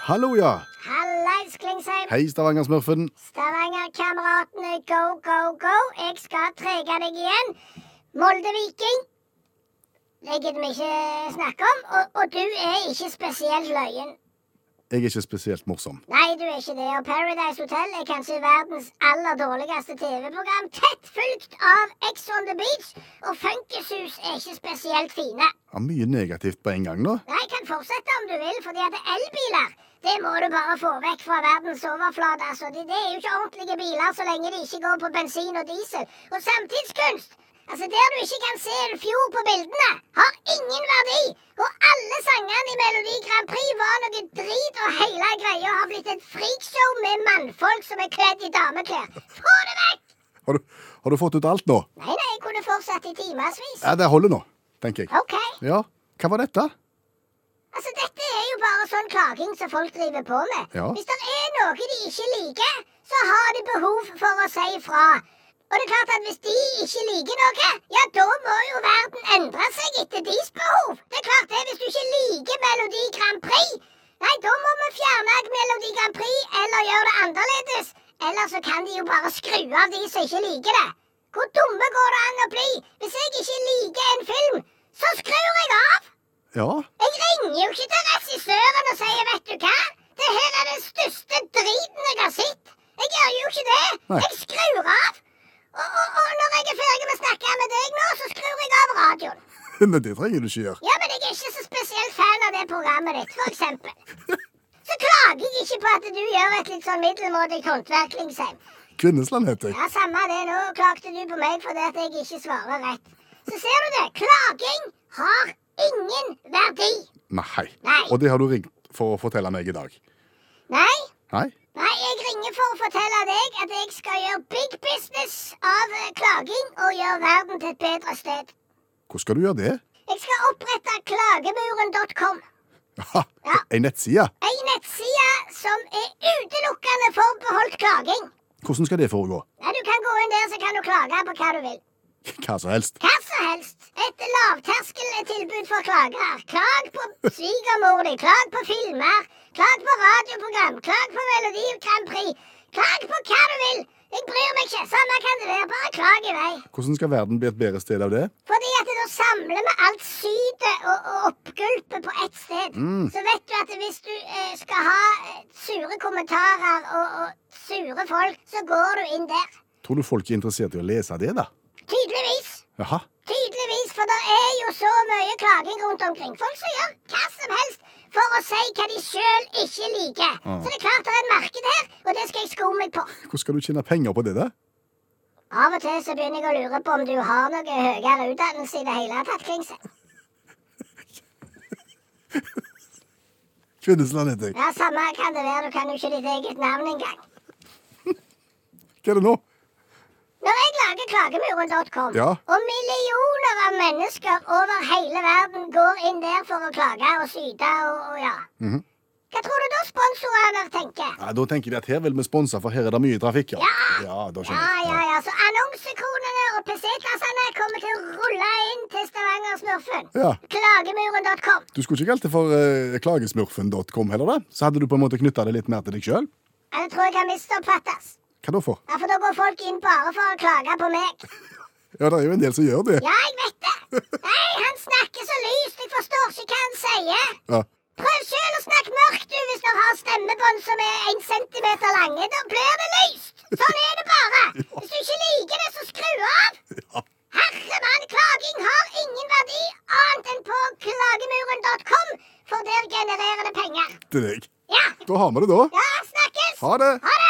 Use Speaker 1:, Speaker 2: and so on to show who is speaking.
Speaker 1: Hallo, ja.
Speaker 2: Hallais, Klingsheim.
Speaker 1: Hei, Stavanger-smurfen.
Speaker 2: Stavanger-kameratene, go, go, go. Jeg skal trege deg igjen. Molde-Viking. Det gidder vi ikke snakke om. Og, og du er ikke spesielt løyen.
Speaker 1: Jeg er ikke spesielt morsom.
Speaker 2: Nei, du er ikke det. Og Paradise Hotel er kanskje verdens aller dårligste TV-program. Tett fulgt av Ex on the Beach. Og Funkesus er ikke spesielt fine.
Speaker 1: Ja, mye negativt på en gang nå.
Speaker 2: Nei, jeg kan fortsette om du vil, fordi at elbiler det må du bare få vekk fra verdens overflate. altså. Det, det er jo ikke ordentlige biler så lenge de ikke går på bensin og diesel. Og samtidskunst, altså der du ikke kan se en fjord på bildene, har ingen verdi. Og alle sangene i Melodi Grand Prix var noe drit, og hele greia har blitt et freakshow med mannfolk som er kledd i dameklær. Få det vekk!
Speaker 1: Har du, har du fått ut alt nå?
Speaker 2: Nei, nei, jeg kunne fortsatt i timevis.
Speaker 1: Ja, Det holder nå, tenker jeg.
Speaker 2: OK.
Speaker 1: Ja, Hva var dette?
Speaker 2: Altså, Dette er jo bare sånn klaging som folk driver på med.
Speaker 1: Ja.
Speaker 2: Hvis det er noe de ikke liker, så har de behov for å si ifra. Og det er klart at hvis de ikke liker noe, ja, da må jo verden endre seg etter deres behov. Det er klart det, Hvis du ikke liker Melodi Grand Prix, nei, da må vi fjerne Melodi Grand Prix eller gjøre det annerledes. Eller så kan de jo bare skru av de som ikke liker det. Hvor dumme går det an å bli? Hvis jeg ikke liker en film, så skrur jeg av!
Speaker 1: Ja,
Speaker 2: Jeg ringer jo ikke til regissøren og sier 'vet du hva', det her er den største driten jeg har sett. Jeg gjør jo ikke det.
Speaker 1: Nei.
Speaker 2: Jeg skrur av. Og, og, og når jeg er ferdig med å snakke med deg nå, så skrur jeg av radioen.
Speaker 1: men det trenger du ikke gjøre.
Speaker 2: Ja, men jeg er ikke så spesielt fan av det programmet ditt, for eksempel. Så klager jeg ikke på at du gjør et litt sånn middelmådig håndverk, Lingsheim.
Speaker 1: Kvinnesland heter jeg.
Speaker 2: Ja, samme det. Nå klagde du på meg fordi at jeg ikke svarer rett. Så ser du det. Klaging har ingen verdi.
Speaker 1: Nei.
Speaker 2: Nei.
Speaker 1: Og det har du ringt for å fortelle meg i dag.
Speaker 2: Nei.
Speaker 1: Nei?
Speaker 2: Nei, jeg ringer for å fortelle deg at jeg skal gjøre big business av eh, klaging og gjøre verden til et bedre sted.
Speaker 1: Hvordan skal du gjøre det?
Speaker 2: Jeg skal opprette klagemuren.com.
Speaker 1: Ja, Ei nettside?
Speaker 2: Ei nettside som er utelukkende forbeholdt klaging.
Speaker 1: Hvordan skal det foregå?
Speaker 2: Nei, du kan gå inn der, så kan du klage på hva du vil.
Speaker 1: Hva som helst.
Speaker 2: Hva som helst. Et lavterskeltilbud for klagere. Klag på svigermor di, klag på filmer, klag på radioprogram, klag på Melodi Grand Prix. Klag på hva du vil. Jeg bryr meg ikke. Samme kan det være. Bare klag i vei.
Speaker 1: Hvordan skal verden bli et bedre sted av det?
Speaker 2: Fordi at da samler vi alt sydet og, og oppgulpet på ett sted.
Speaker 1: Mm.
Speaker 2: Så vet du at hvis du eh, skal ha eh, sure kommentarer og, og sure folk, så går du inn der.
Speaker 1: Tror du folk er interessert i å lese det, da?
Speaker 2: Tydeligvis.
Speaker 1: Jaha.
Speaker 2: Tydeligvis, for det er jo så mye klaging rundt omkring. Folk som gjør hva som helst for å si hva de sjøl ikke liker.
Speaker 1: Ja.
Speaker 2: Så det er klart det er et marked her, og det skal jeg sko meg på.
Speaker 1: Hvordan skal du tjene penger på det, da?
Speaker 2: Av og til så begynner jeg å lure på om du har noe høyere utdannelse i det hele tatt, Klingsheim.
Speaker 1: Kvinnesland heter jeg.
Speaker 2: Ja, samme kan det være, du kan jo ikke ditt eget navn engang.
Speaker 1: Hva er det nå?
Speaker 2: Når jeg lager klagemuren.com,
Speaker 1: Ja.
Speaker 2: og millioner av mennesker over hele verden går inn der for å klage og syte og, og ja
Speaker 1: Mhm.
Speaker 2: Hva tror du da sponsorene tenker?
Speaker 1: Ja, da tenker de at her vil vi sponse, for her er det mye trafikk. Ja, ja da
Speaker 2: Ja,
Speaker 1: skjønner jeg.
Speaker 2: ja, ja. Så annonsekronene og PC-klassene kommer til å rulle inn til Stavanger-smurfen.
Speaker 1: Ja.
Speaker 2: Klagemuren.com.
Speaker 1: Du skulle ikke kalt det for eh, klagesmurfen.com heller, da? Så hadde du på en måte knytta det litt mer til deg sjøl?
Speaker 2: Ja, Det tror jeg kan misoppfattes.
Speaker 1: Hva da for?
Speaker 2: Ja, for da går folk inn bare for å klage på meg.
Speaker 1: Ja, det er jo en del som gjør det.
Speaker 2: Ja, jeg vet det. Nei, han snakker så lyst. Jeg forstår ikke hva han sier.
Speaker 1: Ja.
Speaker 2: Prøv sjøl å snakke mørkt, du, hvis du har stemmebånd som er en centimeter lange. Da blir det lyst. Sånn er det bare. Hvis du ikke liker det, så skru av.
Speaker 1: Ja.
Speaker 2: Herremann, klaging har ingen verdi annet enn på klagemuren.com, for der genererer det penger.
Speaker 1: Til deg.
Speaker 2: Ja,
Speaker 1: Da har vi det, da.
Speaker 2: ja, snakkes!
Speaker 1: Ha det.
Speaker 2: Ha det!